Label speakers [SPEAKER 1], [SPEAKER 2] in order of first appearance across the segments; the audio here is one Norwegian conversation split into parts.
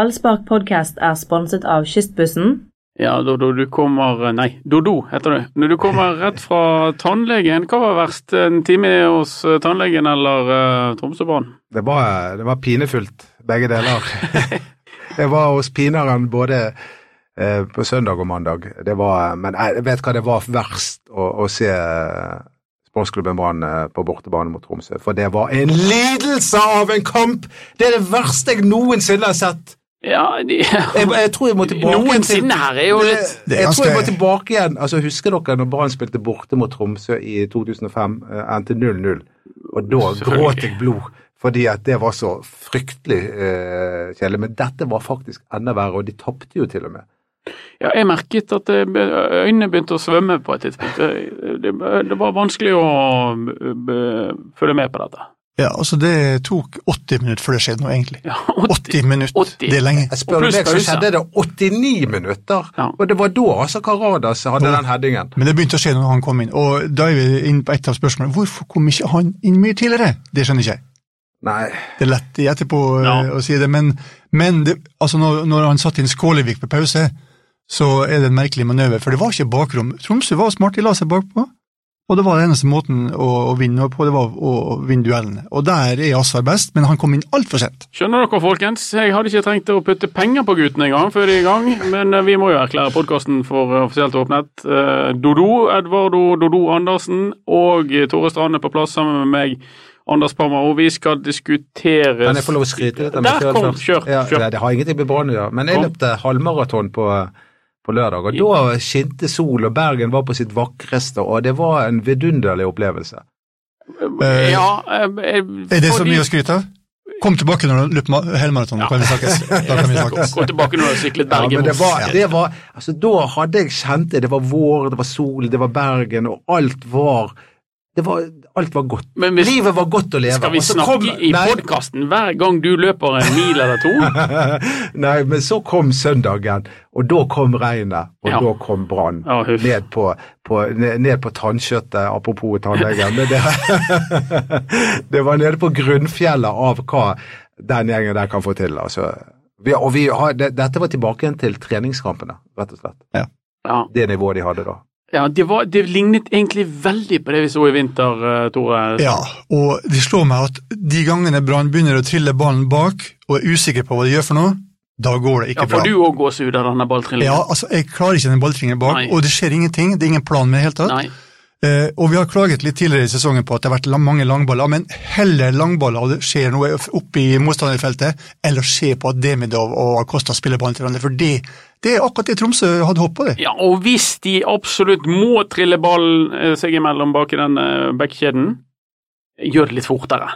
[SPEAKER 1] Ballspark podcast er sponset av Kystbussen.
[SPEAKER 2] Ja, da, da du kommer eh, Nei, Dodo heter det. Når du kommer rett fra tannlegen, hva var verst? En time hos eh, tannlegen eller uh, Tromsø Brann?
[SPEAKER 3] Det var, det var pinefullt, begge deler. jeg var hos pineren både eh, på søndag og mandag. Det var, men jeg vet hva det var verst å, å se eh, sportsklubben Brann eh, på bortebane mot Tromsø. For det var en lidelse av en kamp! Det er det verste jeg noensinne har sett.
[SPEAKER 2] Ja, de
[SPEAKER 3] Jeg, jeg tror jeg må tilbake
[SPEAKER 2] Noensinne her er jo
[SPEAKER 3] Det-
[SPEAKER 2] litt
[SPEAKER 4] Det er
[SPEAKER 3] Jeg tror jeg må
[SPEAKER 4] ganske-
[SPEAKER 3] tilbake igjen. Altså, Husker dere når Brann spilte borte mot Tromsø i 2005? eh, Endte 0-0. Og da
[SPEAKER 2] Selvfølgelig.
[SPEAKER 3] gråt jeg blod, fordi at det var så fryktelig eh, kjedelig. Men dette var faktisk enda verre, og de tapte jo til og med.
[SPEAKER 2] Ja, jeg merket at det be- øynene begynte å svømme på et tidspunkt. Det, det, det var vanskelig å eh, be- følge med på dette.
[SPEAKER 4] Ja, altså det tok 80 minutter før det skjedde noe, egentlig.
[SPEAKER 2] Ja,
[SPEAKER 4] 80 minutter,
[SPEAKER 2] 80.
[SPEAKER 4] det er lenge.
[SPEAKER 3] Jeg spør
[SPEAKER 2] Og pluss
[SPEAKER 3] meg, så
[SPEAKER 2] pause.
[SPEAKER 3] skjedde det 89 minutter,
[SPEAKER 2] Ja.
[SPEAKER 3] og det var da altså Karadas hadde den headingen.
[SPEAKER 4] Men det begynte å skje når han kom inn, og da er vi inn på et av spørsmålene. Hvorfor kom ikke han inn mye tidligere? Det skjønner ikke jeg.
[SPEAKER 3] Nei,
[SPEAKER 4] Det er lett i etterpå eh,
[SPEAKER 2] Ja.
[SPEAKER 4] å si det, men, men det, altså når, når han satt inn Skålevik på pause, så er det en merkelig manøver, for det var ikke bakrom. Tromsø var smart, de la seg bakpå, og det var den eneste måten å, å vinne på, det var å, å vinne duellene. Og der er Assar best, men han kom inn altfor sent.
[SPEAKER 2] Skjønner dere, folkens? Jeg hadde ikke trengt å putte penger på guttene engang før de er i gang, men eh, vi må jo erklære podkasten for eh, offisielt åpnet. Eh, Dodo, Edvardo Dodo Andersen og eh, Tore Strand er på plass sammen med meg, Anders Pammer, og vi skal diskutere
[SPEAKER 3] Kan jeg få lov å skryte litt av
[SPEAKER 2] Der
[SPEAKER 3] meg selv
[SPEAKER 2] kom-
[SPEAKER 3] først?
[SPEAKER 2] kjør,
[SPEAKER 3] Ja,
[SPEAKER 2] kjør.
[SPEAKER 3] nei, det har ingenting med Brann å gjøre, men jeg
[SPEAKER 2] Kom.
[SPEAKER 3] løpte halvmaraton på, på lørdag, og da skinte sol, og Bergen var på sitt vakreste, og det var en vidunderlig opplevelse.
[SPEAKER 4] Eh,
[SPEAKER 2] Ja,
[SPEAKER 4] Er det så mye å skryte av? Kom tilbake når du løper ma- helmaraton, da kan vi snakkes. Da kan vi snakkes.
[SPEAKER 2] Gå tilbake når du har syklet
[SPEAKER 3] Ja, men
[SPEAKER 2] Bergen.
[SPEAKER 3] det var, det var, altså Da hadde jeg kjent det. Det var vår, det var sol, det var Bergen, og alt var det var, Alt var godt.
[SPEAKER 2] Men hvis-
[SPEAKER 3] Livet var godt å leve.
[SPEAKER 2] Skal vi
[SPEAKER 3] og så
[SPEAKER 2] snakke
[SPEAKER 3] kom-
[SPEAKER 2] i
[SPEAKER 3] nei,
[SPEAKER 2] podkasten hver gang du løper en mil eller to?
[SPEAKER 3] Nei, men så kom søndagen, og da kom regnet, og
[SPEAKER 2] Ja.
[SPEAKER 3] da kom brann.
[SPEAKER 2] Ja, huff.
[SPEAKER 3] ned, på, på, ned ned på tannkjøttet, apropos tannlegen. Men det, det var nede på grunnfjellet av hva den gjengen der kan få til. Altså. Vi, og vi har, det, dette var tilbake igjen til treningskampene, rett og slett.
[SPEAKER 2] Ja.
[SPEAKER 3] Det nivået de hadde da.
[SPEAKER 2] Ja, det, var, det lignet egentlig veldig på det vi så i vinter, eh, Tore.
[SPEAKER 4] Ja, og det slår meg at de gangene Brann begynner å trille ballen bak og er usikker på hva de gjør for noe, da går det
[SPEAKER 2] Ja,
[SPEAKER 4] ikke
[SPEAKER 2] får
[SPEAKER 4] bra.
[SPEAKER 2] du òg gåsehud av denne balltrillingen?
[SPEAKER 4] Ja, altså, Jeg klarer ikke den balltringen bak,
[SPEAKER 2] Nei.
[SPEAKER 4] og det skjer ingenting. Det er ingen plan med det hele tatt.
[SPEAKER 2] Nei.
[SPEAKER 4] Eh, og vi har klaget litt tidligere i sesongen på at det har vært la- mange langballer, men heller langballer og det skjer noe oppe i motstanderfeltet, eller se på at Demidov og Acosta spiller ballen til hverandre, for det, det er akkurat det Tromsø hadde håpet på, det.
[SPEAKER 2] Ja, og hvis de absolutt må trille ballen eh, seg imellom bak i den eh, backkjeden, gjør det litt fortere.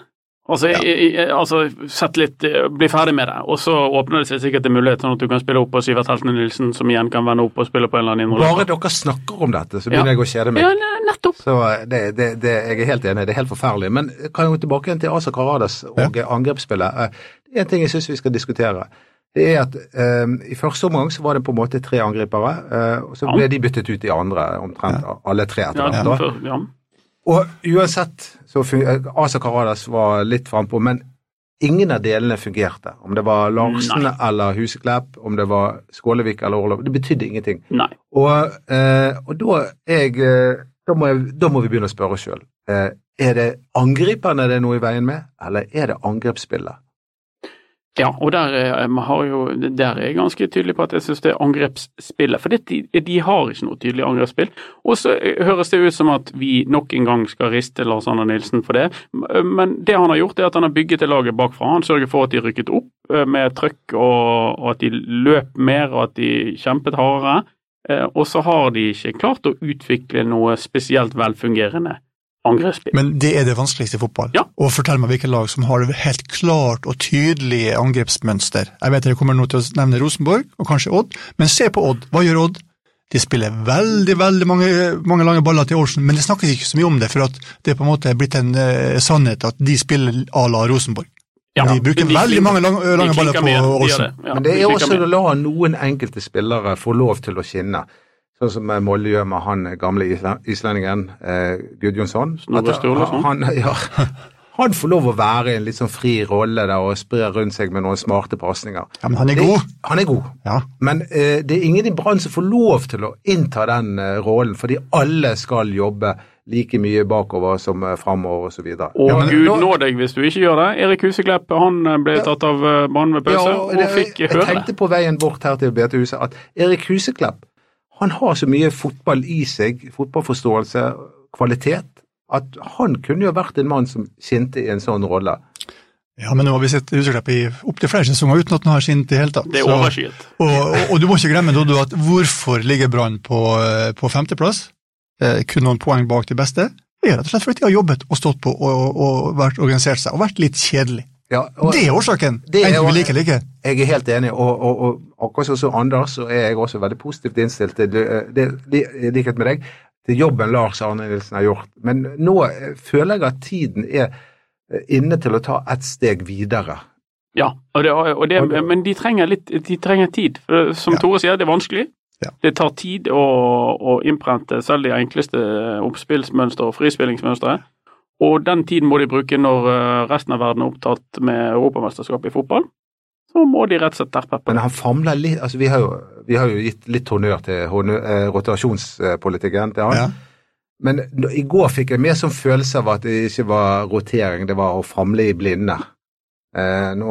[SPEAKER 2] Altså, jeg- jeg- altså sett litt, eh, bli ferdig med det, og så åpner det seg sikkert en mulighet sånn at du kan spille opp på Sivert Heltene Nilsen, som igjen kan vende opp og spille på en eller annen innrømme.
[SPEAKER 3] Bare dere snakker om dette, så begynner jeg å kjede meg.
[SPEAKER 2] Ja, ne- nettopp.
[SPEAKER 3] Så eh, det, det, det, jeg er helt enig, det er helt forferdelig. Men kan jeg gå tilbake igjen til Asa Karadas og angrepsspillet. Eh, Det er en ting jeg syns vi skal diskutere. Det er at eh, i første omgang så var det på en måte tre angripere, eh, og så
[SPEAKER 2] Ja.
[SPEAKER 3] ble de byttet ut i andre, omtrent alle tre etter
[SPEAKER 2] Ja,
[SPEAKER 3] hvert. da.
[SPEAKER 2] for- ja.
[SPEAKER 3] Og uansett så fun- eh, Asa Karadas var litt frampå, men ingen av delene fungerte. Om det var Larsen
[SPEAKER 2] Nei.
[SPEAKER 3] eller Huseklepp, om det var Skålevik eller Orlov, det betydde ingenting.
[SPEAKER 2] Nei.
[SPEAKER 3] Og, eh, og da, er jeg, eh, da, må jeg, da må vi begynne å spørre oss sjøl. Eh, er det angriperne det er noe i veien med, eller er det angrepsspillet?
[SPEAKER 2] Ja, og der er, em, har jo, der er jeg ganske tydelig på at jeg syns det er angrepsspillet. For det, de, de har ikke noe tydelig angrepsspill. Og så eh, høres det ut som at vi nok en gang skal riste Lars Arne Nilsen for det. M- eh, Men det han har gjort, er at han har bygget det laget bakfra. Han sørger for at de rykket opp eh, med trøkk, og, og at de løp mer, og at de kjempet hardere. Eh, Og så har de ikke klart å utvikle noe spesielt velfungerende angrepsspill.
[SPEAKER 4] Men det er det vanskeligste i fotball.
[SPEAKER 2] Ja.
[SPEAKER 4] Og fortell meg hvilke lag som har helt klart og tydelig angrepsmønster. Jeg vet dere kommer nå til å nevne Rosenborg og kanskje Odd, men se på Odd. Hva gjør Odd? De spiller veldig veldig mange, mange lange baller til Olsen, men det snakkes ikke så mye om det, for at det er på en måte blitt en eh, sannhet at de spiller à la Rosenborg.
[SPEAKER 2] Ja,
[SPEAKER 4] de bruker
[SPEAKER 2] men de
[SPEAKER 4] veldig
[SPEAKER 2] klikker-
[SPEAKER 4] mange lange,
[SPEAKER 2] de
[SPEAKER 4] lange baller
[SPEAKER 2] klikker
[SPEAKER 4] på
[SPEAKER 2] mer, de gjør
[SPEAKER 4] Olsen.
[SPEAKER 2] det. Ja,
[SPEAKER 3] Men
[SPEAKER 2] de
[SPEAKER 3] det er
[SPEAKER 2] klikker mer.
[SPEAKER 3] også å la noen enkelte spillere få lov til å skinne. Sånn som eh, Molde gjør med han gamle isle- islendingen eh, Gudjonsson.
[SPEAKER 2] Snorre
[SPEAKER 3] At
[SPEAKER 2] Sturlason.
[SPEAKER 3] Han, ja, Han får lov å være i en litt sånn fri rolle der og spre rundt seg med noen smarte pasninger.
[SPEAKER 4] Ja, men han er
[SPEAKER 3] Det-
[SPEAKER 4] god.
[SPEAKER 3] Han er god.
[SPEAKER 4] Ja.
[SPEAKER 3] Men eh, det er ingen i Brann som får lov til å innta den eh, rollen, fordi alle skal jobbe like mye bakover som eh, framover osv.
[SPEAKER 2] Og
[SPEAKER 3] Ja, men
[SPEAKER 2] gud
[SPEAKER 3] nå-
[SPEAKER 2] nå deg hvis du ikke gjør det. Erik Huseklepp han eh, ble tatt av eh, banen ved pause og,
[SPEAKER 3] det-
[SPEAKER 2] fikk
[SPEAKER 3] jeg
[SPEAKER 2] høre det.
[SPEAKER 3] tenkte på veien bort her til Betehuset at Erik Huseklepp han har så mye fotball i seg, fotballforståelse, kvalitet, at han kunne jo vært en mann som skinte i en sånn rolle.
[SPEAKER 4] Ja, men nå har vi sett Huseklepp i opptil flere sesonger uten at han har skint i det hele tatt.
[SPEAKER 2] Det er
[SPEAKER 4] Så-
[SPEAKER 2] overskyet.
[SPEAKER 4] og, og, og du må ikke glemme Dodo, at hvorfor ligger Brann på, eh, på femteplass, eh, kun noen poeng bak de beste? Det er rett og slett fordi de har jobbet og stått på og, og, og vært organisert seg og vært litt kjedelig.
[SPEAKER 3] Ja, og
[SPEAKER 4] det er årsaken,
[SPEAKER 3] det er
[SPEAKER 4] enten
[SPEAKER 3] årsaken.
[SPEAKER 4] vi liker eller ikke.
[SPEAKER 3] jeg er helt enig, og, og, og akkurat sånn som Anders, så er jeg også veldig positivt innstilt til eh, det, det, i likhet med deg, til jobben Lars Arne Nilsen har gjort. Men nå eh, føler jeg at tiden er eh, inne til å ta et steg videre.
[SPEAKER 2] Ja, og det, og det,
[SPEAKER 3] Og det-
[SPEAKER 2] men de trenger, litt, de trenger tid. For det- som
[SPEAKER 4] Ja.
[SPEAKER 2] Tore sier, det er vanskelig.
[SPEAKER 4] Ja.
[SPEAKER 2] Det tar tid å, å innprente selv de enkleste eh, oppspillsmønstre og frispillingsmønstre. Og den tiden må de bruke når eh, resten av verden er opptatt med europamesterskapet i fotball. Så må de rett og slett terpe på
[SPEAKER 3] Men
[SPEAKER 2] det.
[SPEAKER 3] han famler litt altså Vi har jo, vi har jo gitt litt honnør til honø- eh, rotasjonspolitikken til han.
[SPEAKER 4] Ja.
[SPEAKER 3] Men n- i går fikk jeg mer sånn følelse av at det ikke var rotering, det var å famle i blinde. Eh, nå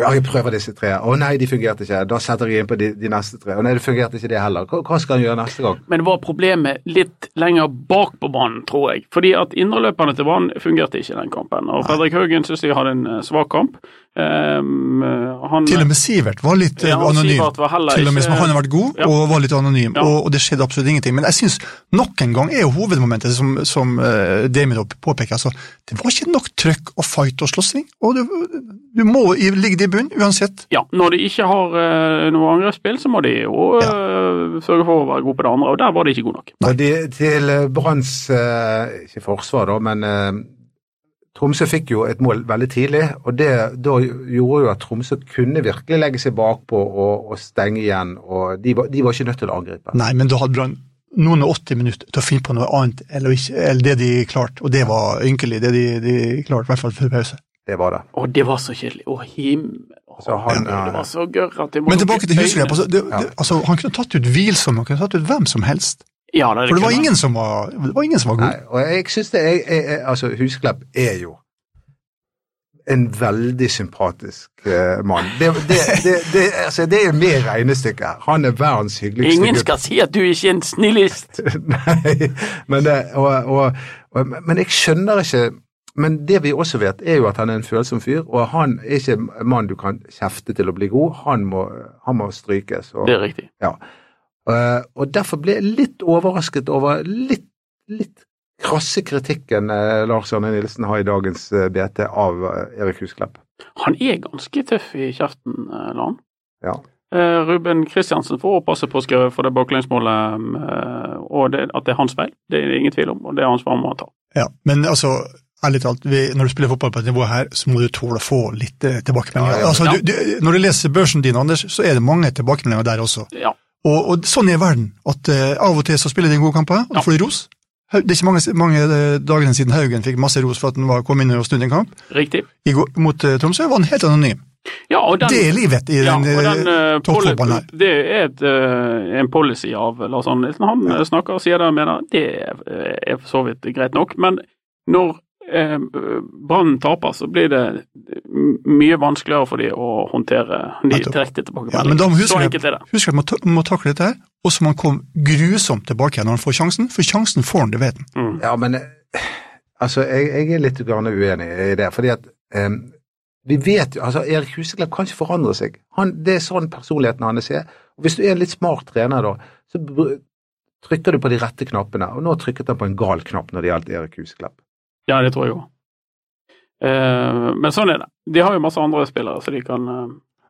[SPEAKER 3] Ja, jeg prøver disse tre. Å nei, de fungerte ikke. Da setter jeg inn på de, de neste tre. Å nei, det fungerte ikke det heller. Hva, hva skal han gjøre neste gang?
[SPEAKER 2] Men det var problemet litt lenger bak på banen, tror jeg. Fordi at indreløperne til banen fungerte ikke i den kampen. Og Fredrik Haugen syns jeg hadde en eh, svak kamp. Ehm, eh, han,
[SPEAKER 4] Til og med Sivert var litt eh,
[SPEAKER 2] Ja, og
[SPEAKER 4] anonym.
[SPEAKER 2] Sivert var heller
[SPEAKER 4] Til og med
[SPEAKER 2] ikke-
[SPEAKER 4] som Han har vært god
[SPEAKER 2] Ja.
[SPEAKER 4] og var litt anonym,
[SPEAKER 2] Ja.
[SPEAKER 4] og, og det skjedde absolutt ingenting. Men jeg syns nok en gang er jo hovedmomentet som, som eh, Damien opp- påpeker, altså, det var ikke nok trøkk og fight og slåssing. Og du, du må i- ligge i bunn uansett.
[SPEAKER 2] Ja, når de ikke har eh, noe angrepsspill, så må de jo eh, sørge for å være gode på det andre, og der var de ikke gode nok.
[SPEAKER 3] Og de, til eh, Branns eh, Ikke forsvar, da, men eh, Tromsø fikk jo et mål veldig tidlig, og det da gjorde jo at Tromsø kunne virkelig legge seg bakpå og, og stenge igjen. og de var, de var ikke nødt til å angripe.
[SPEAKER 4] Nei, men da hadde Brann noen og 80 minutter til å finne på noe annet eller, ikke, eller det de klarte, og det var ynkelig, det de, de klarte, i hvert fall før pause.
[SPEAKER 3] Det var det.
[SPEAKER 2] Å, det var så kjedelig. Å, himmel. Å,
[SPEAKER 3] Så han,
[SPEAKER 2] Gud, det
[SPEAKER 3] ja.
[SPEAKER 2] var så gørr at jeg må
[SPEAKER 4] Men
[SPEAKER 2] lukke
[SPEAKER 4] tilbake til Huseklepp.
[SPEAKER 2] øynene.
[SPEAKER 4] Altså, det- det- altså, han kunne tatt ut Hvilsom, han kunne tatt ut hvem som helst.
[SPEAKER 2] Ja, da,
[SPEAKER 4] For det var
[SPEAKER 2] kunne-
[SPEAKER 4] ingen som var, det var, ingen som var god.
[SPEAKER 3] Nei, og jeg synes det er, er, er Altså, Husklepp er jo en veldig sympatisk eh, mann. Det, det, det, det, altså, det er med i regnestykket her. Han er verdens hyggeligste
[SPEAKER 2] Ingen skal si at du ikke er en snillist.
[SPEAKER 3] Nei, men, det, og, og, og, men jeg skjønner ikke Men det vi også vet, er jo at han er en følsom fyr, og han er ikke en mann du kan kjefte til å bli god. Han må, han må strykes. Og,
[SPEAKER 2] Det er riktig.
[SPEAKER 3] ja. Eh, og derfor ble jeg litt overrasket over litt, litt krasse kritikken eh, Lars Arne Nilsen har i dagens eh, BT av eh, Erik Husklepp.
[SPEAKER 2] Han er ganske tøff i kjeften, eh, Lan.
[SPEAKER 3] Ja.
[SPEAKER 2] Eh, Ruben Kristiansen får passe på å skrive for det baklengsmålet, eh, og det, at det er hans feil. Det er det ingen tvil om, og det er hans feil må han ta.
[SPEAKER 4] Ja, men altså, ærlig talt, vi, når du spiller fotball på et nivå her, så må du tåle å få litt eh, tilbakemeldinger.
[SPEAKER 3] Ja, ja.
[SPEAKER 4] Altså,
[SPEAKER 2] Ja.
[SPEAKER 4] du, du, når du leser børsen din, Anders, så er det mange tilbakemeldinger der også.
[SPEAKER 2] Ja.
[SPEAKER 4] Og, og sånn er verden, at eh, av og til så spiller de gode kamper, og
[SPEAKER 2] Ja.
[SPEAKER 4] da får de ros. Hau- Det er ikke mange, mange eh, dagene siden Haugen fikk masse ros for at han var, kom inn og snudde en kamp.
[SPEAKER 2] Riktig.
[SPEAKER 4] I går, mot eh, Tromsø var han helt anonym.
[SPEAKER 2] Ja, og den,
[SPEAKER 4] det er livet i
[SPEAKER 2] Ja,
[SPEAKER 4] den,
[SPEAKER 2] og den,
[SPEAKER 4] eh,
[SPEAKER 2] eh, poli-
[SPEAKER 4] toppfotballen her.
[SPEAKER 2] det er et, eh, en policy av Lars Arne Nilsen. Han eh, snakker og sier det han mener. Det er, eh, er for så vidt greit nok. Men når eh, Brann taper, så blir det m- mye vanskeligere for de å håndtere de
[SPEAKER 4] Nettopp.
[SPEAKER 2] direkte
[SPEAKER 4] Ja, men da
[SPEAKER 2] tilbakemeldingene.
[SPEAKER 4] må huske
[SPEAKER 2] så
[SPEAKER 4] det.
[SPEAKER 2] enkelt er det.
[SPEAKER 4] Husk at man ta- må takle dette her, og så må han komme grusomt tilbake igjen når han får sjansen, for sjansen får han, det vet han.
[SPEAKER 2] Mm.
[SPEAKER 3] Ja, men eh, altså, jeg, jeg er litt grann uenig i det. fordi at eh, vi vet jo, altså Erik Huseklepp kan ikke forandre seg. Han, det er sånn personligheten hans er. Og Hvis du er en litt smart trener, da, så br- trykker du på de rette knappene. Og nå trykket han på en gal knapp når det gjaldt Erik Huseklepp.
[SPEAKER 2] Ja, det tror jeg òg. men sånn er det. De har jo masse andre spillere, så de kan eh,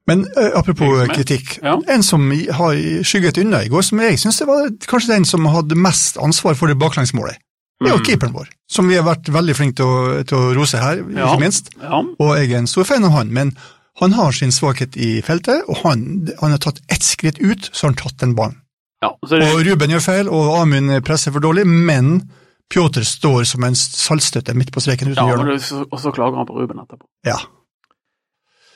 [SPEAKER 4] Men eh, apropos
[SPEAKER 2] Virksomhet.
[SPEAKER 4] kritikk.
[SPEAKER 2] Ja.
[SPEAKER 4] En som i- har skygget unna i går, som jeg syns var kanskje den som hadde mest ansvar for det baklengsmålet, det er jo
[SPEAKER 2] Mm.
[SPEAKER 4] keeperen vår, som vi har vært veldig flinke til, å- til å rose her, ikke
[SPEAKER 2] Ja.
[SPEAKER 4] minst.
[SPEAKER 2] Ja.
[SPEAKER 4] Og jeg er en stor fan av han, men han har sin svakhet i feltet, og han, han har tatt ett skritt ut, så har han tatt den ballen.
[SPEAKER 2] ja. Så det,
[SPEAKER 4] Og Ruben gjør feil, og Amund presser for dårlig, men Pjotr står som en saltstøtte midt på streken uten
[SPEAKER 2] Ja,
[SPEAKER 4] å
[SPEAKER 2] og
[SPEAKER 4] gjøre noe.
[SPEAKER 2] det- så- og så klager han på Ruben etterpå.
[SPEAKER 4] Ja.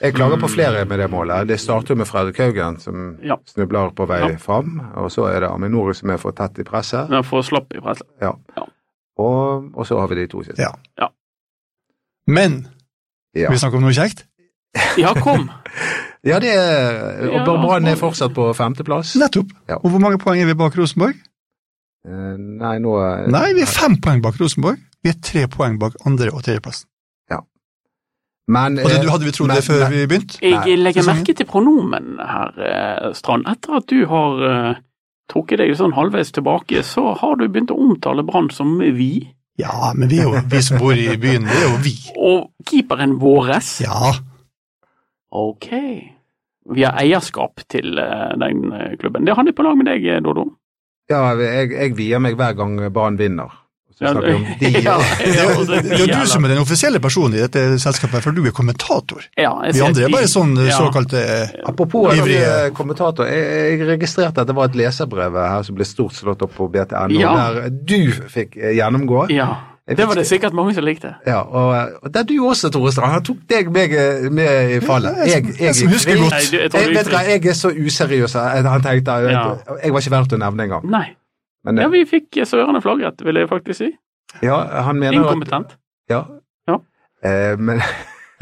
[SPEAKER 3] Jeg klager på flere med det målet. Det starter jo med Fredrik Haugen, som
[SPEAKER 2] Mm. Ja.
[SPEAKER 3] snubler på vei
[SPEAKER 2] Ja.
[SPEAKER 3] fram. Og så er det Aminori som er for tett i presset.
[SPEAKER 2] Men han får slapp i presset.
[SPEAKER 3] Ja.
[SPEAKER 2] Ja.
[SPEAKER 3] Og, og så har vi de to siste.
[SPEAKER 4] Ja.
[SPEAKER 2] Ja.
[SPEAKER 4] Men
[SPEAKER 3] Ja.
[SPEAKER 4] skal vi snakke om noe kjekt?
[SPEAKER 2] Ja, kom!
[SPEAKER 3] Ja, det er, og
[SPEAKER 2] Ja,
[SPEAKER 3] Brann er
[SPEAKER 2] Brann-
[SPEAKER 3] fortsatt på femteplass.
[SPEAKER 4] Nettopp.
[SPEAKER 3] Ja.
[SPEAKER 4] Og hvor mange poeng er vi bak Rosenborg?
[SPEAKER 3] Eh, Nei, nå
[SPEAKER 4] Nei, vi er fem poeng bak Rosenborg. Vi er tre poeng bak andre- og tredjeplass.
[SPEAKER 3] Men,
[SPEAKER 4] Og det,
[SPEAKER 3] eh,
[SPEAKER 4] hadde vi trodd
[SPEAKER 3] men-
[SPEAKER 4] det før
[SPEAKER 3] men-
[SPEAKER 4] vi begynte?
[SPEAKER 2] Jeg legger
[SPEAKER 4] Sesongen.
[SPEAKER 2] merke til pronomenene her, eh, Strand. Etter at du har eh, trukket deg sånn halvveis tilbake, så har du begynt å omtale Brann som vi.
[SPEAKER 4] Ja, men vi, er jo, vi som bor i byen, det er jo vi.
[SPEAKER 2] Og keeperen våres
[SPEAKER 4] Ja,
[SPEAKER 2] Ok. Vi har eierskap til eh, den eh, klubben. Det er han er på lag med deg, eh, Dodo.
[SPEAKER 3] Ja, jeg, jeg vier meg hver gang Brann vinner. Så snakker vi om de.
[SPEAKER 2] ja,
[SPEAKER 4] det er,
[SPEAKER 2] ja,
[SPEAKER 4] jo-
[SPEAKER 2] altså,
[SPEAKER 4] det er jo du som er den offisielle personen i dette selskapet, for du er kommentator.
[SPEAKER 2] ja, jeg
[SPEAKER 4] Vi
[SPEAKER 2] ser
[SPEAKER 4] andre er
[SPEAKER 2] de.
[SPEAKER 4] bare sånn eh,
[SPEAKER 2] Ja.
[SPEAKER 4] såkalte eh,
[SPEAKER 3] Apropos
[SPEAKER 4] Ivrige.
[SPEAKER 3] ivrige kommentator, jeg, jeg registrerte at det var et leserbrev her som ble stort slått opp på BTN,
[SPEAKER 2] Ja.
[SPEAKER 3] der du fikk eh, gjennomgå.
[SPEAKER 2] Ja. Det var det sikkert mange som likte.
[SPEAKER 3] Ja, og, eh, og det er du også, Tore Strand. Han tok deg meg eh, med i fallet.
[SPEAKER 4] Ja, jeg- jeg som husker godt.
[SPEAKER 2] Nei, du, jeg tror
[SPEAKER 3] Jeg,
[SPEAKER 2] du
[SPEAKER 3] vet du hva, jeg er så useriøs at han tenkte at
[SPEAKER 2] Ja.
[SPEAKER 3] Jeg var ikke verdt å nevne engang.
[SPEAKER 2] Nei.
[SPEAKER 3] Men
[SPEAKER 2] Ja,
[SPEAKER 3] eh,
[SPEAKER 2] vi fikk eh, sørende flaggrett, vil jeg faktisk si.
[SPEAKER 3] ja, han mener at
[SPEAKER 2] Inkompetent.
[SPEAKER 3] Ja.
[SPEAKER 2] Ja.
[SPEAKER 3] Eh, men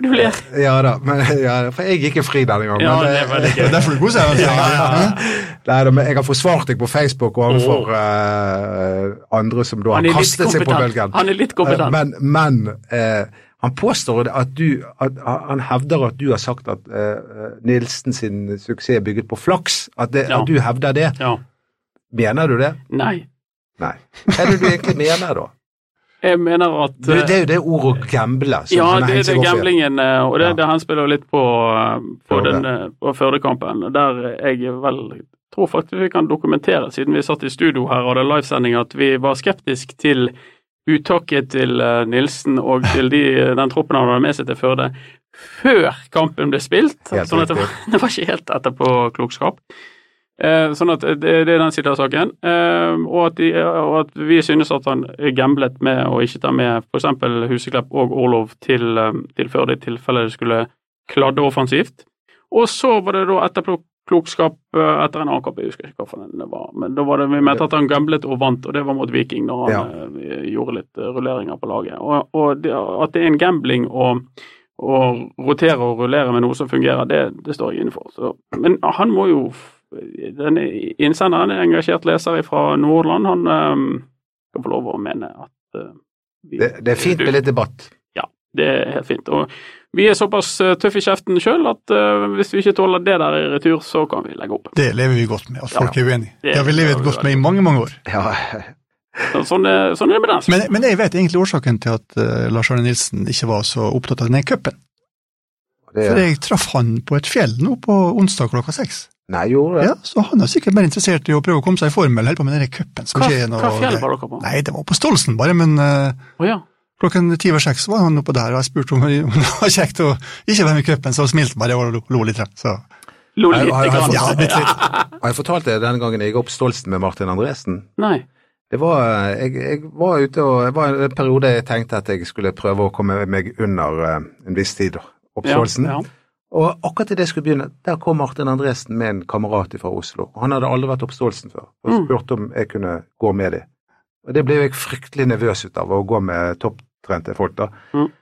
[SPEAKER 2] Du ler.
[SPEAKER 3] Ja da, men, ja, for jeg gikk jo fri denne gangen.
[SPEAKER 2] Ja,
[SPEAKER 3] men,
[SPEAKER 2] det var det
[SPEAKER 4] Det
[SPEAKER 2] gøy.
[SPEAKER 4] er derfor du koser deg.
[SPEAKER 3] Ja,
[SPEAKER 4] altså.
[SPEAKER 3] ja, ja. Neida, men jeg har forsvart deg på Facebook og overfor eh, andre som da
[SPEAKER 2] Han
[SPEAKER 3] har
[SPEAKER 2] er litt
[SPEAKER 3] kastet seg på
[SPEAKER 2] kompetent.
[SPEAKER 3] bølgen.
[SPEAKER 2] Han er litt
[SPEAKER 3] Eh,
[SPEAKER 2] kompetent.
[SPEAKER 3] men men eh, han påstår at du at, Han hevder at du har sagt at eh, Nilsen sin suksess er bygget på flaks. At, det,
[SPEAKER 2] Ja.
[SPEAKER 3] at du hevder det.
[SPEAKER 2] Ja.
[SPEAKER 3] Mener du det?
[SPEAKER 2] Nei.
[SPEAKER 3] Nei. Hva er det du egentlig mener, da?
[SPEAKER 2] Jeg mener at
[SPEAKER 3] Det,
[SPEAKER 2] eh,
[SPEAKER 3] det er jo det ordet 'gamble' som
[SPEAKER 2] Ja,
[SPEAKER 3] han
[SPEAKER 2] det,
[SPEAKER 3] har
[SPEAKER 2] det
[SPEAKER 3] hengt seg
[SPEAKER 2] er
[SPEAKER 3] opp i.
[SPEAKER 2] gamblingen, eh, og det,
[SPEAKER 3] Ja.
[SPEAKER 2] det henspiller jo litt på, eh, på,
[SPEAKER 3] Førde.
[SPEAKER 2] den, eh, på Førde-kampen. Der jeg vel tror faktisk vi kan dokumentere, siden vi satt i studio her og hadde livesending, at vi var skeptisk til uttaket til eh, Nilsen og til de, eh, den troppen han hadde med seg til Førde, før kampen ble spilt.
[SPEAKER 3] Helt
[SPEAKER 2] Sånn at det, var, det var ikke helt etterpåklokskap. Eh, sånn at det, det er den siden av saken. Eh, og, at de, og at vi synes at han gamblet med å ikke ta med f.eks. Huseklepp og Orlov til, eh, til før det tilfellet det skulle kladde offensivt. Og så var det da etterpåklokskap eh, etter en annen kamp, jeg husker ikke hva for den det var, men da var det vi mente at han gamblet og vant, og det var mot Viking, da han eh, gjorde litt eh, rulleringer på laget. Og, og det, at det er en gambling å å rotere og rullere med noe som fungerer, det, det står jeg inne for. Så, men han må jo den innsenderen, en engasjert leser fra Nordland, han ehm, skal få lov å mene at eh, vi-
[SPEAKER 3] Det, det er fint med litt debatt.
[SPEAKER 2] Det er helt fint. Og vi er såpass eh, tøffe i kjeften sjøl at eh, hvis vi ikke tåler det der i retur, så kan vi legge opp.
[SPEAKER 4] Det lever vi godt med, at folk er uenige.
[SPEAKER 2] Det-
[SPEAKER 4] Det har vi
[SPEAKER 2] det har
[SPEAKER 4] levet
[SPEAKER 2] vi
[SPEAKER 4] godt
[SPEAKER 2] vært.
[SPEAKER 4] med i mange, mange år.
[SPEAKER 3] Ja,
[SPEAKER 2] Så, sånn, er- sånn er det med den.
[SPEAKER 4] Men, men jeg vet egentlig årsaken til at eh, Lars Arne Nilsen ikke var så opptatt av den cupen.
[SPEAKER 3] det,
[SPEAKER 4] For jeg traff han på et fjell nå på onsdag klokka seks.
[SPEAKER 3] Nei, gjorde det?
[SPEAKER 4] Ja, så han er sikkert mer interessert i å prøve å komme seg i form eller holde på med den cupen. som
[SPEAKER 2] Hva,
[SPEAKER 4] ikke er noe-
[SPEAKER 2] hva fjell var dere på?
[SPEAKER 4] Nei, det var på Stolsen bare, men eh,
[SPEAKER 2] Å ja.
[SPEAKER 4] klokken ti over seks var han oppe der, og jeg spurte om om det var kjekt å ikke være med i cupen, så han smilte bare og lo, lo litt. Så.
[SPEAKER 2] Lo
[SPEAKER 3] Nei,
[SPEAKER 2] lite
[SPEAKER 3] har- har-
[SPEAKER 2] grann.
[SPEAKER 4] Ja, bitte litt.
[SPEAKER 3] Har jeg fortalt det den gangen jeg gikk opp Stoltsen med Martin Andresen?
[SPEAKER 2] Nei.
[SPEAKER 3] Det var, jeg, jeg var ute og jeg var i en periode jeg tenkte at jeg skulle prøve å komme meg under eh, en viss tid. opp
[SPEAKER 2] Ja,
[SPEAKER 3] Stoltsen.
[SPEAKER 2] ja.
[SPEAKER 3] Og akkurat idet jeg skulle begynne, der kom Martin Andresen med en kamerat fra Oslo. Han hadde aldri vært opp Stoltsen før, og
[SPEAKER 2] Mm.
[SPEAKER 3] spurte om jeg kunne gå med dem. Og det ble jeg fryktelig nervøs ut av, å gå med topptrente folk da.
[SPEAKER 2] Mm.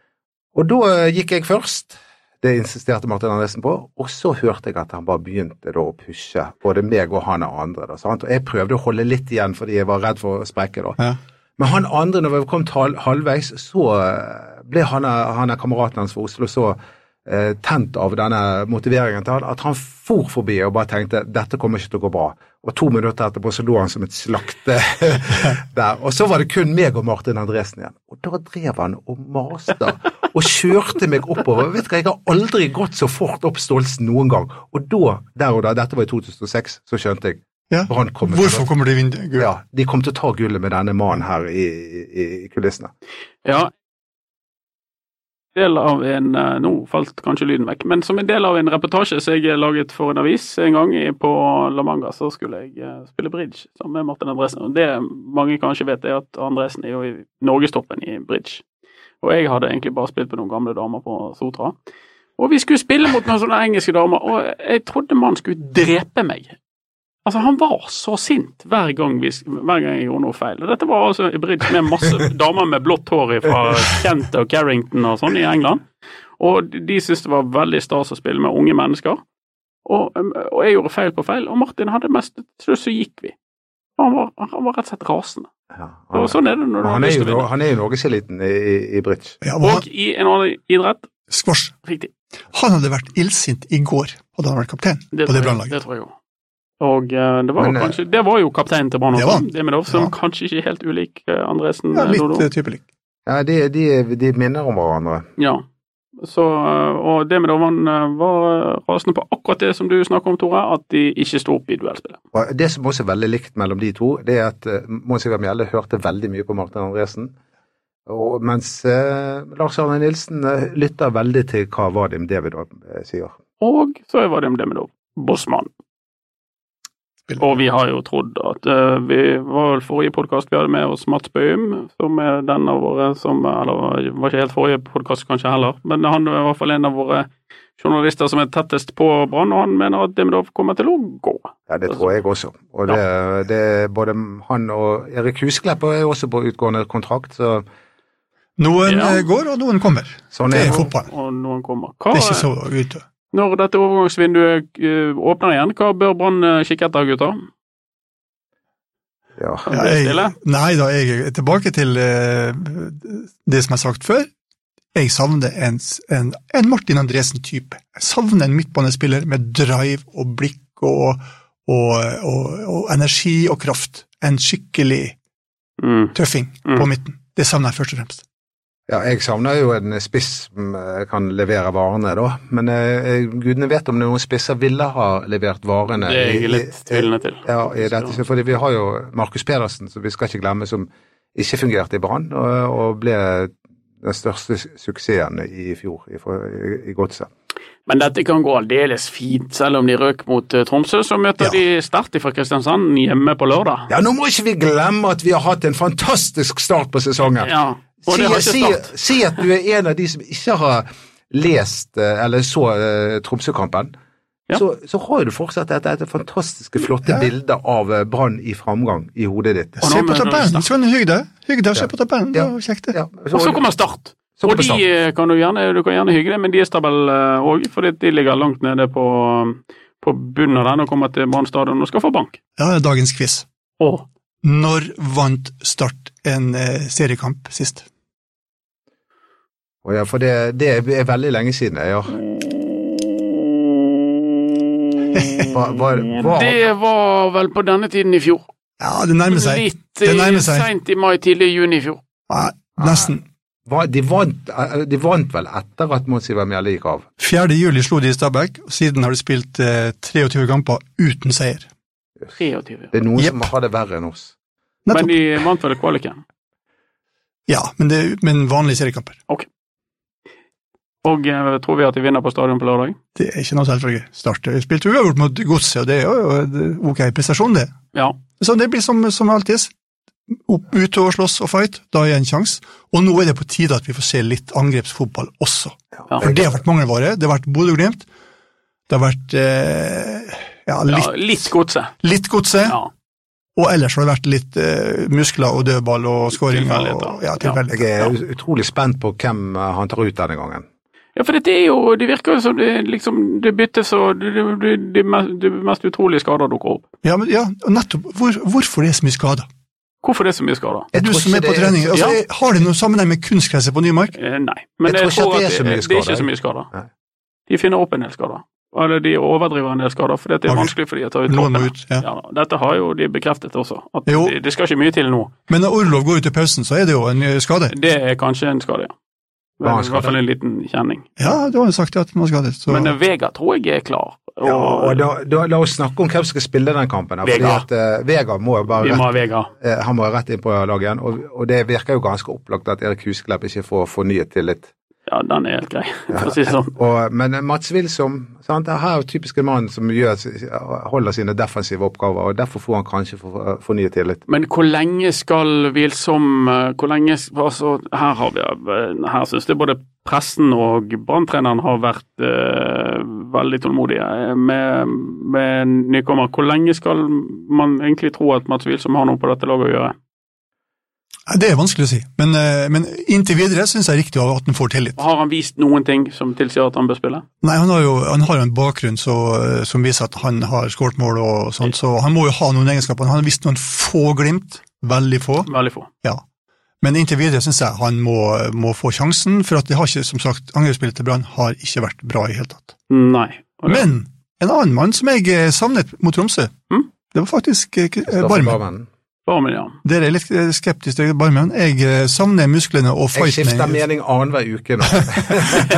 [SPEAKER 3] Og da eh, gikk jeg først. Det insisterte Martin Andersen på, og så hørte jeg at han bare begynte da å pushe både meg og han og andre. Da, sant? Og jeg prøvde å holde litt igjen fordi jeg var redd for å sprekke. da.
[SPEAKER 4] Ja.
[SPEAKER 3] Men han andre, når vi kom tal- halvveis, så eh, ble han, av- han av kameraten hans fra Oslo så eh, tent av denne motiveringen til han, at han for forbi og bare tenkte dette kommer ikke til å gå bra. Og to minutter etterpå så lå han som et slakte der. Og så var det kun meg og Martin Andresen igjen. Og da drev han og maste og kjørte meg oppover. Vet dere, Jeg har aldri gått så fort opp Stolsen noen gang. Og da, der og da, dette var i 2006, så skjønte jeg
[SPEAKER 4] Ja.
[SPEAKER 3] Brann kom til
[SPEAKER 4] Hvorfor
[SPEAKER 3] å-
[SPEAKER 4] kommer du i vinduet? Gud?
[SPEAKER 3] ja, de kom til å ta gullet med denne mannen her i, i, i kulissene.
[SPEAKER 2] Ja, del av en eh, Nå falt kanskje lyden vekk, men som en del av en reportasje som jeg laget for en avis en gang i- på La Manga, så skulle jeg eh, spille bridge sammen med Martin Andresen. Og det mange kanskje vet, er at Andresen er jo i norgestoppen i bridge. Og jeg hadde egentlig bare spilt med noen gamle damer på Sotra. Og vi skulle spille mot noen sånne engelske damer, og jeg trodde mannen skulle drepe meg. Altså, han var så sint hver gang, vi, hver gang jeg gjorde noe feil. Og dette var altså i bridge med masse damer med blått hår fra Kent og Carrington og sånn i England. Og de- de syntes det var veldig stas å spille med unge mennesker. Og, um, og jeg gjorde feil på feil, og Martin hadde mest Til slutt så gikk vi. Han var, han var rett og slett rasende.
[SPEAKER 3] Ja,
[SPEAKER 2] Og
[SPEAKER 3] han,
[SPEAKER 2] sånn er det når du har
[SPEAKER 3] han, er
[SPEAKER 2] lyst
[SPEAKER 3] jo,
[SPEAKER 2] til å
[SPEAKER 3] no-
[SPEAKER 2] vinne.
[SPEAKER 3] han er jo norgeseliten i, i, i bridge.
[SPEAKER 4] Ja, og
[SPEAKER 2] Og
[SPEAKER 4] han,
[SPEAKER 2] i en annen idrett
[SPEAKER 4] squash.
[SPEAKER 2] Riktig.
[SPEAKER 4] Han hadde vært illsint i går, hadde han vært kaptein på
[SPEAKER 2] tror
[SPEAKER 4] det
[SPEAKER 2] jeg-
[SPEAKER 4] brannlaget.
[SPEAKER 2] Det tror jeg òg. Og eh, det var jo
[SPEAKER 3] Men, eh,
[SPEAKER 2] kanskje Det var jo kapteinen til
[SPEAKER 4] Det var
[SPEAKER 2] Brann,
[SPEAKER 4] han.
[SPEAKER 2] Demidov, som
[SPEAKER 4] Ja.
[SPEAKER 2] kanskje ikke er helt ulik eh, Andresen.
[SPEAKER 4] Ja,
[SPEAKER 2] eh, Dodo.
[SPEAKER 4] litt eh, typelig.
[SPEAKER 3] Ja, de, de, de minner om hverandre.
[SPEAKER 2] Ja. Så, øh, og det med dommeren øh, var øh, rasende på akkurat det som du snakker om, Tore, at de ikke sto opp i duellspillet.
[SPEAKER 3] Og det som også er veldig likt mellom de to, det er at eh, Mons Ivar Mjelde hørte veldig mye på Martin Andresen, og, mens eh, Lars Arne Nilsen eh, lytter veldig til hva Vadim Davidov eh, sier.
[SPEAKER 2] Og så var det med Demidov bossmann.
[SPEAKER 4] Spiller.
[SPEAKER 2] Og vi har jo trodd at øh, Vi var vel forrige podkast vi hadde med oss Mats Bøhm, som er den av våre som Eller var ikke helt forrige podkast kanskje heller, men han er i hvert fall en av våre journalister som er tettest på Brann, og han mener at Demidov kommer til å gå.
[SPEAKER 3] Ja, det tror jeg også. Og det, det er både han og Erik Husklepp er også på utgående kontrakt, så
[SPEAKER 4] Noen
[SPEAKER 2] Ja.
[SPEAKER 4] eh, går, og noen kommer.
[SPEAKER 3] sånn
[SPEAKER 4] Det
[SPEAKER 3] er
[SPEAKER 4] er
[SPEAKER 3] det.
[SPEAKER 4] fotballen.
[SPEAKER 2] Og noen kommer.
[SPEAKER 4] Det
[SPEAKER 2] Hva,
[SPEAKER 4] er ikke så ute.
[SPEAKER 2] Når dette overgangsvinduet eh, åpner igjen, hva bør Brann eh, kikke etter, gutter?
[SPEAKER 3] Ja.
[SPEAKER 2] Kan
[SPEAKER 4] Ja,
[SPEAKER 2] dere stille?
[SPEAKER 4] jeg, nei da, jeg er tilbake til eh, det som jeg har sagt før. Jeg savner en, en, en Martin Andresen-type. Jeg savner en midtbanespiller med drive og blikk og, og, og, og energi og kraft. En skikkelig
[SPEAKER 2] Mm.
[SPEAKER 4] tøffing på
[SPEAKER 2] Mm.
[SPEAKER 4] midten. Det savner jeg først og fremst.
[SPEAKER 3] Ja, jeg savner jo en spiss som eh, kan levere varene, da. Men eh, eh, gudene vet om noen spisser ville ha levert varene.
[SPEAKER 2] Det er
[SPEAKER 3] i- i-
[SPEAKER 2] jeg litt tvilende til.
[SPEAKER 3] Ja, i dette, fordi vi har jo Markus Pedersen, som vi skal ikke glemme, som ikke fungerte i Brann, og, og ble den største su- suksessen i fjor i, i- i Godset.
[SPEAKER 2] Men dette kan gå aldeles fint, selv om de røk mot eh, Tromsø. Så møter
[SPEAKER 4] Ja.
[SPEAKER 2] de Start fra Kristiansand hjemme på lørdag.
[SPEAKER 3] Ja, nå må ikke vi glemme at vi har hatt en fantastisk start på sesongen.
[SPEAKER 2] Ja, og det har ikke
[SPEAKER 3] si,
[SPEAKER 2] Start.
[SPEAKER 3] si, si at du er en av de som ikke har lest eh, eller så eh, Tromsø-kampen.
[SPEAKER 2] Ja.
[SPEAKER 3] Så, så har du fortsatt dette, dette fantastiske, flotte
[SPEAKER 4] Ja.
[SPEAKER 3] bildet av eh, Brann i framgang i hodet ditt.
[SPEAKER 2] Og nå
[SPEAKER 4] Se på
[SPEAKER 2] mener du
[SPEAKER 4] tabellen,
[SPEAKER 2] snart.
[SPEAKER 4] Sven. Hygg deg. Hygg deg og se
[SPEAKER 3] Ja.
[SPEAKER 4] på tabellen. Det
[SPEAKER 3] Ja.
[SPEAKER 4] var kjekt, det.
[SPEAKER 3] Ja,
[SPEAKER 2] Og så kommer Start.
[SPEAKER 3] så
[SPEAKER 2] Og
[SPEAKER 3] kommer
[SPEAKER 2] de
[SPEAKER 3] Start.
[SPEAKER 2] eh, kan du gjerne, du kan gjerne hygge deg med deres tabell òg, for eh, de ligger langt nede på, um, på bunnen av den og kommer til Brann stadion og skal få bank.
[SPEAKER 4] Ja, det er dagens quiz.
[SPEAKER 2] Åh.
[SPEAKER 4] Når vant Start en eh, seriekamp sist?
[SPEAKER 3] Å ja, for det, det er veldig lenge siden. Ja. Hva, hva, hva,
[SPEAKER 2] Det var vel på denne tiden i fjor.
[SPEAKER 4] Ja, det nærmer seg.
[SPEAKER 2] Litt
[SPEAKER 4] Det nærmer seg.
[SPEAKER 2] seint i mai, tidlig i juni i fjor.
[SPEAKER 4] Nei, nesten.
[SPEAKER 3] hva, de, vant, eh, de vant vel etter at Mons Ivar Mjelde gikk av?
[SPEAKER 4] 4. juli slo de i Stabæk, og siden har de spilt eh, 23 kamper uten seier.
[SPEAKER 2] 23.
[SPEAKER 3] Det er noen
[SPEAKER 4] Jepp.
[SPEAKER 3] som har det verre enn oss.
[SPEAKER 2] Men
[SPEAKER 4] Nettopp.
[SPEAKER 2] de vant vel kvaliken.
[SPEAKER 4] Ja, men, det, men vanlige seriekamper.
[SPEAKER 2] Og eh, tror vi at de vinner på stadion på lørdag?
[SPEAKER 4] Det er ikke noe selvfølge. Start eh, spilte uavgjort mot Godset, og det er jo en ok prestasjon, det.
[SPEAKER 2] Ja.
[SPEAKER 4] Så det blir som, som alltid. Opp, ut og slåss og fight, da er det en sjanse. Og nå er det på tide at vi får se litt angrepsfotball også.
[SPEAKER 2] Ja.
[SPEAKER 4] For det har vært mangelvare. Det har vært Bodø-Glimt. Det har vært eh, ja,
[SPEAKER 2] ja
[SPEAKER 4] litt,
[SPEAKER 2] litt godset.
[SPEAKER 4] litt godset.
[SPEAKER 2] Ja.
[SPEAKER 4] Og ellers har det vært litt eh, muskler og dødball og skåringer.
[SPEAKER 2] Tilfeldigheter.
[SPEAKER 4] og- Ja, tilfeldigheter.
[SPEAKER 3] Jeg er ut- utrolig spent på hvem eh, han tar ut denne gangen.
[SPEAKER 2] ja, for dette er jo Det virker jo som det liksom Det byttes og det, det, det, det, mest- det mest utrolige skader dukker opp.
[SPEAKER 4] Ja, men, ja og nettopp. Hvor, hvorfor det er så mye skader?
[SPEAKER 2] Hvorfor det er så mye skader?
[SPEAKER 3] Jeg
[SPEAKER 4] Du
[SPEAKER 3] tror
[SPEAKER 4] som er
[SPEAKER 3] ikke
[SPEAKER 4] på
[SPEAKER 3] det-
[SPEAKER 4] trening, altså,
[SPEAKER 2] Ja.
[SPEAKER 4] har det noen sammenheng med kunstgresset på Nymark?
[SPEAKER 2] Eh, nei. Men
[SPEAKER 3] Jeg
[SPEAKER 2] jeg, tror ikke at det, det er
[SPEAKER 3] mye
[SPEAKER 2] ikke
[SPEAKER 3] skader,
[SPEAKER 2] så
[SPEAKER 3] jeg.
[SPEAKER 2] mye skader.
[SPEAKER 3] Nei.
[SPEAKER 2] De finner opp en del skader. Eller de overdriver en del skader, for det er
[SPEAKER 4] Ok.
[SPEAKER 2] vanskelig for de å ta ut
[SPEAKER 4] Noen må
[SPEAKER 2] troppene.
[SPEAKER 4] ut. Ja.
[SPEAKER 2] Ja, da. dette har jo de bekreftet også, at
[SPEAKER 4] Jo.
[SPEAKER 2] det, det skal ikke mye til nå.
[SPEAKER 4] Men når Orlov går ut i pausen, så er det jo en eh, skade.
[SPEAKER 2] Det er kanskje en skade, ja.
[SPEAKER 3] Ja, en
[SPEAKER 2] Men, I
[SPEAKER 3] skade.
[SPEAKER 2] hvert fall en liten kjenning.
[SPEAKER 4] Ja, du har jo sagt at man er skadet. Så.
[SPEAKER 2] Men eh, Vega tror jeg er klar. Og,
[SPEAKER 3] Ja, og da, da, La oss snakke om hvem som skal spille den kampen. her, Fordi
[SPEAKER 2] Vegard.
[SPEAKER 3] at eh, Vegard må jo bare
[SPEAKER 2] vi
[SPEAKER 3] rett,
[SPEAKER 2] må ha Vega.
[SPEAKER 3] eh, han må jo rett inn på laget igjen. Og, og det virker jo ganske opplagt at Erik Husklepp ikke får fornyet tillit.
[SPEAKER 2] ja, den er helt grei, for å si det sånn.
[SPEAKER 3] Og, men eh, Mats Wilsom sant, er her typisk en mann som gjør, holder sine defensive oppgaver, og derfor får han kanskje for- eh, fornyet tillit.
[SPEAKER 2] Men hvor lenge skal Wilsom eh, hvor lenge, altså, Her har vi eh, her synes jeg både pressen og branntreneren har vært eh, veldig tålmodige eh, med, med nykommer. Hvor lenge skal man egentlig tro at Mats Wilsom har noe på dette laget å gjøre?
[SPEAKER 4] Nei, Det er vanskelig å si, men, eh, men inntil videre syns jeg riktig at han får tillit.
[SPEAKER 2] Har han vist noen ting som tilsier at han bør spille?
[SPEAKER 4] Nei, Han har jo han har jo en bakgrunn så, eh, som viser at han har skåret mål, og sånt, så han må jo ha noen egenskaper. Han har vist noen få glimt, veldig få,
[SPEAKER 2] Veldig få.
[SPEAKER 4] ja. Men inntil videre syns jeg han må, må få sjansen, for at det har ikke, som sagt, angrepsspillet til Brann har ikke vært bra i det hele tatt.
[SPEAKER 2] Nei. Og det-
[SPEAKER 4] Men en annen mann som jeg eh, savnet mot Tromsø,
[SPEAKER 2] Mm.
[SPEAKER 4] det var faktisk eh, K- eh,
[SPEAKER 3] Staffan
[SPEAKER 4] Barmen.
[SPEAKER 3] Barmen.
[SPEAKER 2] Bare med, ja.
[SPEAKER 4] Dere er litt eh, skeptiske til Barmen. Jeg eh, savner musklene og
[SPEAKER 3] Jeg
[SPEAKER 4] fighten.
[SPEAKER 3] skifter mening annenhver uke nå.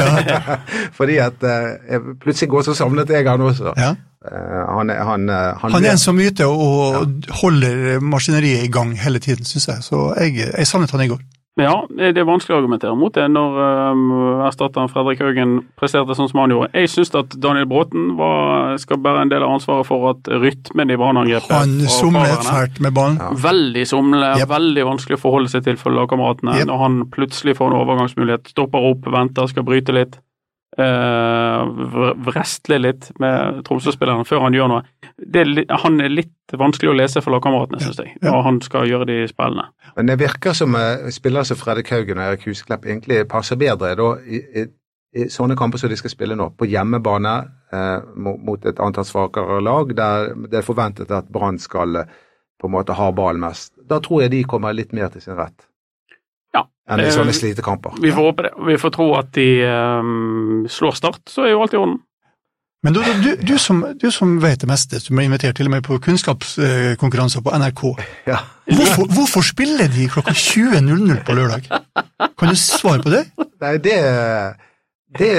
[SPEAKER 3] Fordi at eh, jeg- plutselig går så savnet jeg han også.
[SPEAKER 4] Ja.
[SPEAKER 3] Eh, han, er- han, eh, han,
[SPEAKER 4] Han
[SPEAKER 3] ble-
[SPEAKER 4] er en som yter og holder maskineriet i gang hele tiden, syns jeg. Så jeg, jeg savnet han i går.
[SPEAKER 2] Men Ja, eh, det det er vanskelig å argumentere mot det når um, erstatteren Fredrik Haugen presterte sånn som han gjorde. Jeg syns at Daniel Bråten var, skal bære en del av ansvaret for at rytmen i Brann-angrepet
[SPEAKER 4] Han
[SPEAKER 2] var
[SPEAKER 4] somlet
[SPEAKER 2] fraværende.
[SPEAKER 4] fælt med ballen.
[SPEAKER 3] Ja.
[SPEAKER 2] Veldig somle,
[SPEAKER 4] Jep.
[SPEAKER 2] veldig vanskelig å forholde seg til for lagkameratene.
[SPEAKER 4] Jep.
[SPEAKER 2] Når han plutselig får en overgangsmulighet, stopper opp, venter, skal bryte litt. eh, vr- vrestle litt med Tromsø-spillerne før han gjør noe. Det er, li- han er litt vanskelig å lese for lagkameratene, syns jeg,
[SPEAKER 4] Ja.
[SPEAKER 2] når han skal gjøre de spillene.
[SPEAKER 3] Men det virker som eh, spillere som Fredrik Haugen og Erik Huseklepp egentlig passer bedre da, i, i, i sånne kamper som de skal spille nå, på hjemmebane eh, mo- mot et antall svakere lag, der det er forventet at Brann skal eh, på en måte ha ballen mest. Da tror jeg de kommer litt mer til sin rett
[SPEAKER 2] Ja,
[SPEAKER 3] enn i
[SPEAKER 2] Eh,
[SPEAKER 3] sånne slitekamper.
[SPEAKER 2] Vi får håpe det. Vi får tro at de ehm, slår Start, så er jo alt i orden.
[SPEAKER 4] Men du, du, du, som, du som vet det meste, som er invitert til og med på kunnskapskonkurranser på NRK,
[SPEAKER 3] Ja.
[SPEAKER 4] hvorfor, hvorfor spiller de klokka 20.00 på lørdag? Kan du svare på det?
[SPEAKER 3] Nei, det Det,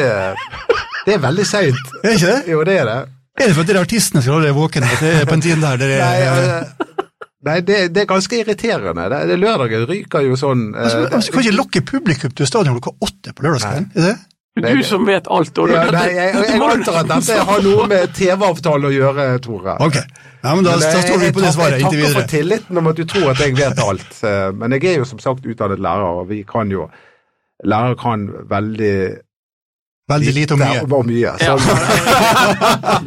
[SPEAKER 3] det er veldig seint.
[SPEAKER 4] Er det ikke det?
[SPEAKER 3] Jo, det er det.
[SPEAKER 4] Er det for at dere artistene skal holde dere våkne at det er på en tid der dere
[SPEAKER 3] Nei, eh, nei det, det er ganske irriterende. Det, det lørdagen ryker jo sånn eh,
[SPEAKER 4] altså, altså, Kan ikke lokke publikum til stadion klokka åtte på lørdagskvelden? Er det det?
[SPEAKER 3] Nei,
[SPEAKER 2] Du
[SPEAKER 3] det-
[SPEAKER 2] som vet alt, og
[SPEAKER 3] Ja,
[SPEAKER 2] dette-
[SPEAKER 3] nei, jeg, jeg,
[SPEAKER 2] dette må du
[SPEAKER 3] antar at
[SPEAKER 2] nesten
[SPEAKER 3] dette har noe med TV-avtalen å gjøre, Tore.
[SPEAKER 4] Ok, ja, men da,
[SPEAKER 3] Men,
[SPEAKER 4] da
[SPEAKER 3] eh,
[SPEAKER 4] står vi
[SPEAKER 3] jeg
[SPEAKER 4] på det
[SPEAKER 3] takker-
[SPEAKER 4] svaret inntil
[SPEAKER 3] Jeg takker for
[SPEAKER 4] videre.
[SPEAKER 3] tilliten om at du tror at jeg vet alt. eh, Men jeg er jo som sagt utdannet lærer, og vi kan jo Lærere kan veldig
[SPEAKER 4] Veldig lite og mye.
[SPEAKER 3] og mye. Så,
[SPEAKER 2] Ja.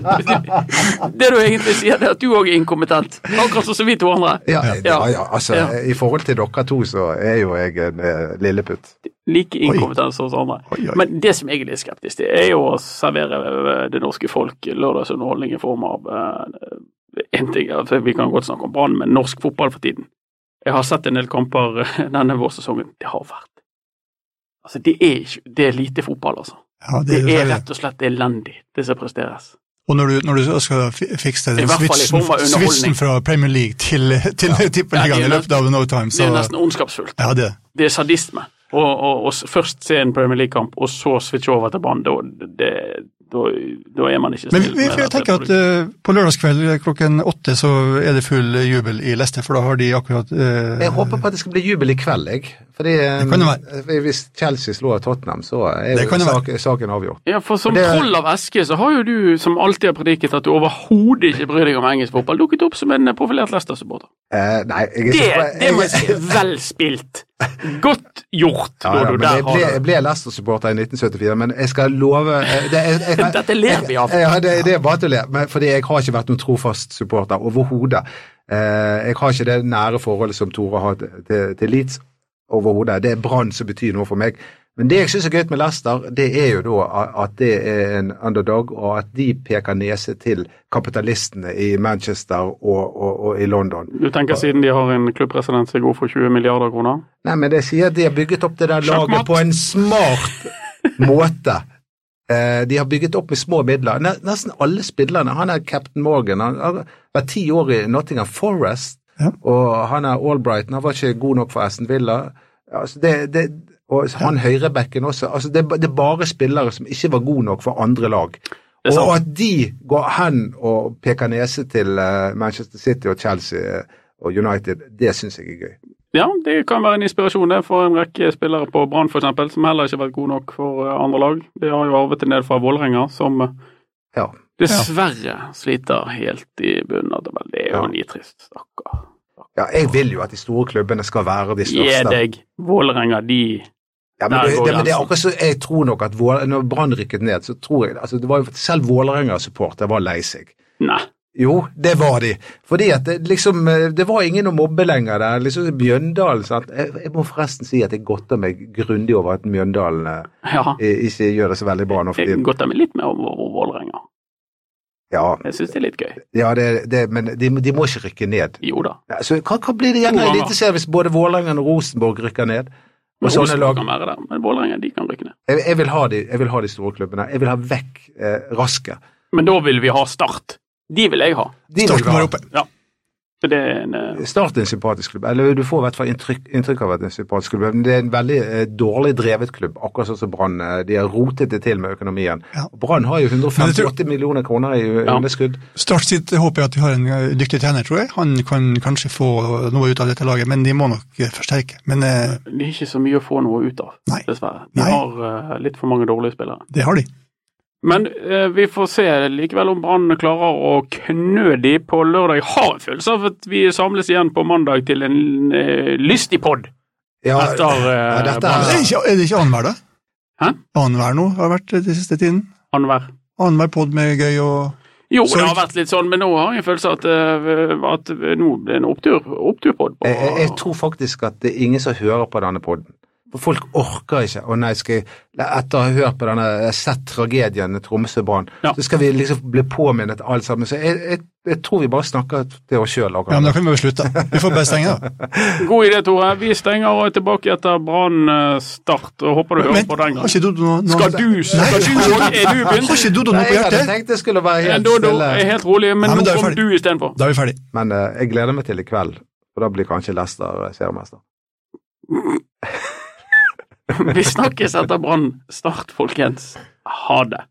[SPEAKER 2] det du egentlig sier, det er at du òg er inkompetent. Akkurat sånn som vi to andre.
[SPEAKER 3] ja,
[SPEAKER 4] Ja.
[SPEAKER 3] ja, ja, altså,
[SPEAKER 2] Ja.
[SPEAKER 3] I forhold til dere to, så er jo jeg en eh, lilleputt.
[SPEAKER 2] Like inkompetent som oss andre.
[SPEAKER 4] Oi, oi.
[SPEAKER 2] Men det som jeg er litt skeptisk til, er jo å servere eh, det norske folk lørdagsunderholdning i form av eh, en ting, altså, Vi kan godt snakke om Brann, men norsk fotball for tiden. Jeg har sett en del kamper eh, denne vårsesongen. Det har vært Altså, det er, ikke, det er lite fotball, altså.
[SPEAKER 4] Ja,
[SPEAKER 2] Det
[SPEAKER 4] dessverre
[SPEAKER 2] er rett og slett elendig, det som presteres.
[SPEAKER 4] Og når du, når du skal fi- fikse
[SPEAKER 2] I
[SPEAKER 4] den
[SPEAKER 2] hvert fall i
[SPEAKER 4] switchen,
[SPEAKER 2] form av underholdning.
[SPEAKER 4] switchen fra Premier League til, til
[SPEAKER 2] Ja,
[SPEAKER 4] tippeligaen
[SPEAKER 2] det er
[SPEAKER 4] i løpet av no time, så
[SPEAKER 2] Det er nesten ondskapsfullt.
[SPEAKER 4] ja, det.
[SPEAKER 2] Det er sadisme. Å å- å s- først se en Premier League-kamp, og så switche over til Brann, da, det- da, da er man ikke
[SPEAKER 4] Men vi,
[SPEAKER 2] snill
[SPEAKER 4] vi,
[SPEAKER 2] med
[SPEAKER 4] vi
[SPEAKER 2] dette
[SPEAKER 4] tenker at
[SPEAKER 2] produktet.
[SPEAKER 4] eh, på lørdagskveld eh, klokken åtte så er det full jubel i Leicester, for da har de akkurat eh,
[SPEAKER 3] Jeg håper på at det skal bli jubel i kveld, jeg. Fordi eh,
[SPEAKER 4] Det kan det
[SPEAKER 3] eh, hvis Chelsea slår Tottenham, så er
[SPEAKER 4] Det
[SPEAKER 3] jo
[SPEAKER 4] kan det være.
[SPEAKER 3] sak, saken avgjort.
[SPEAKER 2] Ja, for som
[SPEAKER 3] Det-
[SPEAKER 2] troll av eske, så har jo du, som alltid har prediket at du overhodet ikke bryr deg om engelsk fotball, dukket opp som en profilert Leicester-supporter.
[SPEAKER 3] Eh, nei, jeg er
[SPEAKER 2] Det,
[SPEAKER 3] ikke-
[SPEAKER 2] det må jeg
[SPEAKER 3] jeg-
[SPEAKER 2] si. Vel spilt. Godt gjort,
[SPEAKER 3] Ja,
[SPEAKER 2] når
[SPEAKER 3] ja,
[SPEAKER 2] du
[SPEAKER 3] men
[SPEAKER 2] der
[SPEAKER 3] jeg ble,
[SPEAKER 2] har det.
[SPEAKER 3] jeg ble Leicester-supporter i 1974, men jeg skal love eh, det, jeg, jeg, jeg,
[SPEAKER 2] Dette ler vi av.
[SPEAKER 3] Ja, det, det er bare til å le, men fordi jeg har ikke vært noen trofast supporter overhodet. Eh, jeg har ikke det nære forholdet som Tore har til, til, til Leeds overhodet. Det er Brann som betyr noe for meg. Men det jeg syns er gøy med Leicester, det er jo da a- at det er en underdog, og at de peker nese til kapitalistene i Manchester og, og, og i London.
[SPEAKER 2] Du tenker siden de har en klubbpresident som er god for 20 milliarder kroner?
[SPEAKER 3] Nei, men det sier at de har bygget opp det der laget
[SPEAKER 2] Sjakkmatt.
[SPEAKER 3] på en smart måte. Eh, de har bygget opp med små midler. Ne- Nesten alle spillerne. Han er Captain Morgan. Han har vært ti år i Nottingham Forest,
[SPEAKER 4] Ja.
[SPEAKER 3] og han er Albrighton. Han var ikke god nok for Aston Villa. Altså, det, det, og han høyrebacken også. Altså, det, er ba- det er bare spillere som ikke var gode nok for andre lag.
[SPEAKER 2] er sant.
[SPEAKER 3] Og at de går hen og peker nese til eh, Manchester City og Chelsea eh, og United, det syns jeg er gøy.
[SPEAKER 2] Det Ja, det kan være en inspirasjon det for en rekke spillere på Brann f.eks., som heller ikke har vært gode nok for eh, andre lag. De har jo arvet en del fra Vålerenga, som eh,
[SPEAKER 3] Ja.
[SPEAKER 2] dessverre sliter helt i bunnen av tabellen. Det er jo
[SPEAKER 3] Ja.
[SPEAKER 2] nitrist, stakkar.
[SPEAKER 3] ja, jeg vil jo at de store klubbene skal være de
[SPEAKER 2] Gi
[SPEAKER 3] største.
[SPEAKER 2] deg Vålerenga, de
[SPEAKER 3] Ja, men
[SPEAKER 2] Der
[SPEAKER 3] det,
[SPEAKER 2] går
[SPEAKER 3] det, men det er
[SPEAKER 2] grensen.
[SPEAKER 3] akkurat så, jeg tror nok at Vål- når Brann rykket ned, så tror jeg altså det var jo, Selv Vålerenga-supportere var lei seg.
[SPEAKER 2] Nei.
[SPEAKER 3] Jo, det var de. Fordi at det, liksom, eh, det var ingen å mobbe lenger der. Liksom Mjøndalen sant? Jeg, jeg må forresten si at jeg godter meg grundig over at Mjøndalen eh,
[SPEAKER 2] Ja.
[SPEAKER 3] ikke gjør det så veldig bra nå for
[SPEAKER 2] Jeg kan
[SPEAKER 3] tiden.
[SPEAKER 2] godt ta meg litt mer om Vå- Vålerenga.
[SPEAKER 3] Ja,
[SPEAKER 2] Jeg syns det er litt gøy.
[SPEAKER 3] ja det, det, men de, de må ikke rykke ned.
[SPEAKER 2] Jo da.
[SPEAKER 3] Ja, Så hva, hva blir det igjen av
[SPEAKER 2] To ganger.
[SPEAKER 3] Eliteserien hvis både Vålerengen og Rosenborg rykker ned? Og sånne
[SPEAKER 2] Rosenborg
[SPEAKER 3] lag.
[SPEAKER 2] kan være der, men Vålerenga de kan rykke ned.
[SPEAKER 3] Jeg, jeg, vil ha de, jeg vil ha de store klubbene. Jeg vil ha vekk eh, Raske.
[SPEAKER 2] Men da vil vi ha Start. De vil jeg ha.
[SPEAKER 3] De vil vi
[SPEAKER 4] Start
[SPEAKER 3] ha.
[SPEAKER 4] må være oppe.
[SPEAKER 2] For det er en eh,
[SPEAKER 3] Start er en sympatisk klubb, eller du får i hvert fall inntrykk, inntrykk av at det er en sympatisk klubb. Men det er en veldig eh, dårlig drevet klubb, akkurat sånn som Brann. eh, De har rotet det til med økonomien.
[SPEAKER 4] Ja.
[SPEAKER 3] Brann har jo 158
[SPEAKER 4] Men
[SPEAKER 3] millioner kroner i eh,
[SPEAKER 2] Ja.
[SPEAKER 3] underskudd.
[SPEAKER 4] Start sitt håper jeg at de har en eh, dyktig trener, tror jeg. Han kan kanskje få noe ut av dette laget, men de må nok eh, forsterke. Men eh,
[SPEAKER 2] Det er ikke så mye å få noe ut av,
[SPEAKER 4] Nei.
[SPEAKER 2] dessverre. De
[SPEAKER 4] Nei.
[SPEAKER 2] har eh, litt for mange dårlige spillere.
[SPEAKER 4] det har de.
[SPEAKER 2] Men eh, vi får se likevel om Brann klarer å knø de på lørdag. Jeg har en følelse av at vi samles igjen på mandag til en eh, lystig pod
[SPEAKER 3] Ja,
[SPEAKER 2] etter
[SPEAKER 3] ja,
[SPEAKER 2] eh,
[SPEAKER 3] dette
[SPEAKER 2] Brann
[SPEAKER 3] er-
[SPEAKER 4] Er det ikke, er det ikke annenhver, da?
[SPEAKER 2] Hæ?
[SPEAKER 4] Annenhver nå har det vært eh, den siste tiden.
[SPEAKER 2] annenhver.
[SPEAKER 4] Annenhver pod med gøy og
[SPEAKER 2] Jo,
[SPEAKER 4] Så-
[SPEAKER 2] det har vært litt sånn, men nå har jeg en følelse av at, eh, at nå blir det en opptur, oppturpod.
[SPEAKER 3] jeg, jeg, jeg tror faktisk at det er ingen som hører på denne podden. For folk orker ikke. Å nei, skal jeg, etter å ha hørt på denne, jeg har sett tragedien i Tromsø-Brann,
[SPEAKER 2] Ja.
[SPEAKER 3] så skal vi liksom bli påminnet alt sammen. Så jeg, jeg, jeg tror vi bare snakker til oss sjøl
[SPEAKER 4] Ja,
[SPEAKER 3] akkurat
[SPEAKER 4] men
[SPEAKER 3] nå.
[SPEAKER 4] da kan vi bare slutte. Vi får bare stenge, da.
[SPEAKER 2] God idé, Tore. Vi stenger og er tilbake etter Brann-start, og håper du hører på den
[SPEAKER 4] har
[SPEAKER 2] gangen.
[SPEAKER 4] ikke Dodo noe, noe
[SPEAKER 2] Skal du, skal du, er du begynt?
[SPEAKER 4] Har ikke Dodo
[SPEAKER 3] Nei,
[SPEAKER 4] noe
[SPEAKER 3] jeg
[SPEAKER 4] på
[SPEAKER 3] hadde
[SPEAKER 4] hjertet?
[SPEAKER 3] tenkt det skulle være helt
[SPEAKER 2] Dodo er
[SPEAKER 3] stille,
[SPEAKER 2] helt rolig, men,
[SPEAKER 4] Nei, men
[SPEAKER 2] nå
[SPEAKER 4] da er vi
[SPEAKER 2] kom
[SPEAKER 4] ferdig.
[SPEAKER 2] du istedenfor.
[SPEAKER 4] Da er vi ferdig.
[SPEAKER 3] men eh, jeg gleder meg til i kveld. For da blir kanskje Lester eh, seriemester.
[SPEAKER 2] Vi snakkes etter Brann. Start, folkens. Ha det.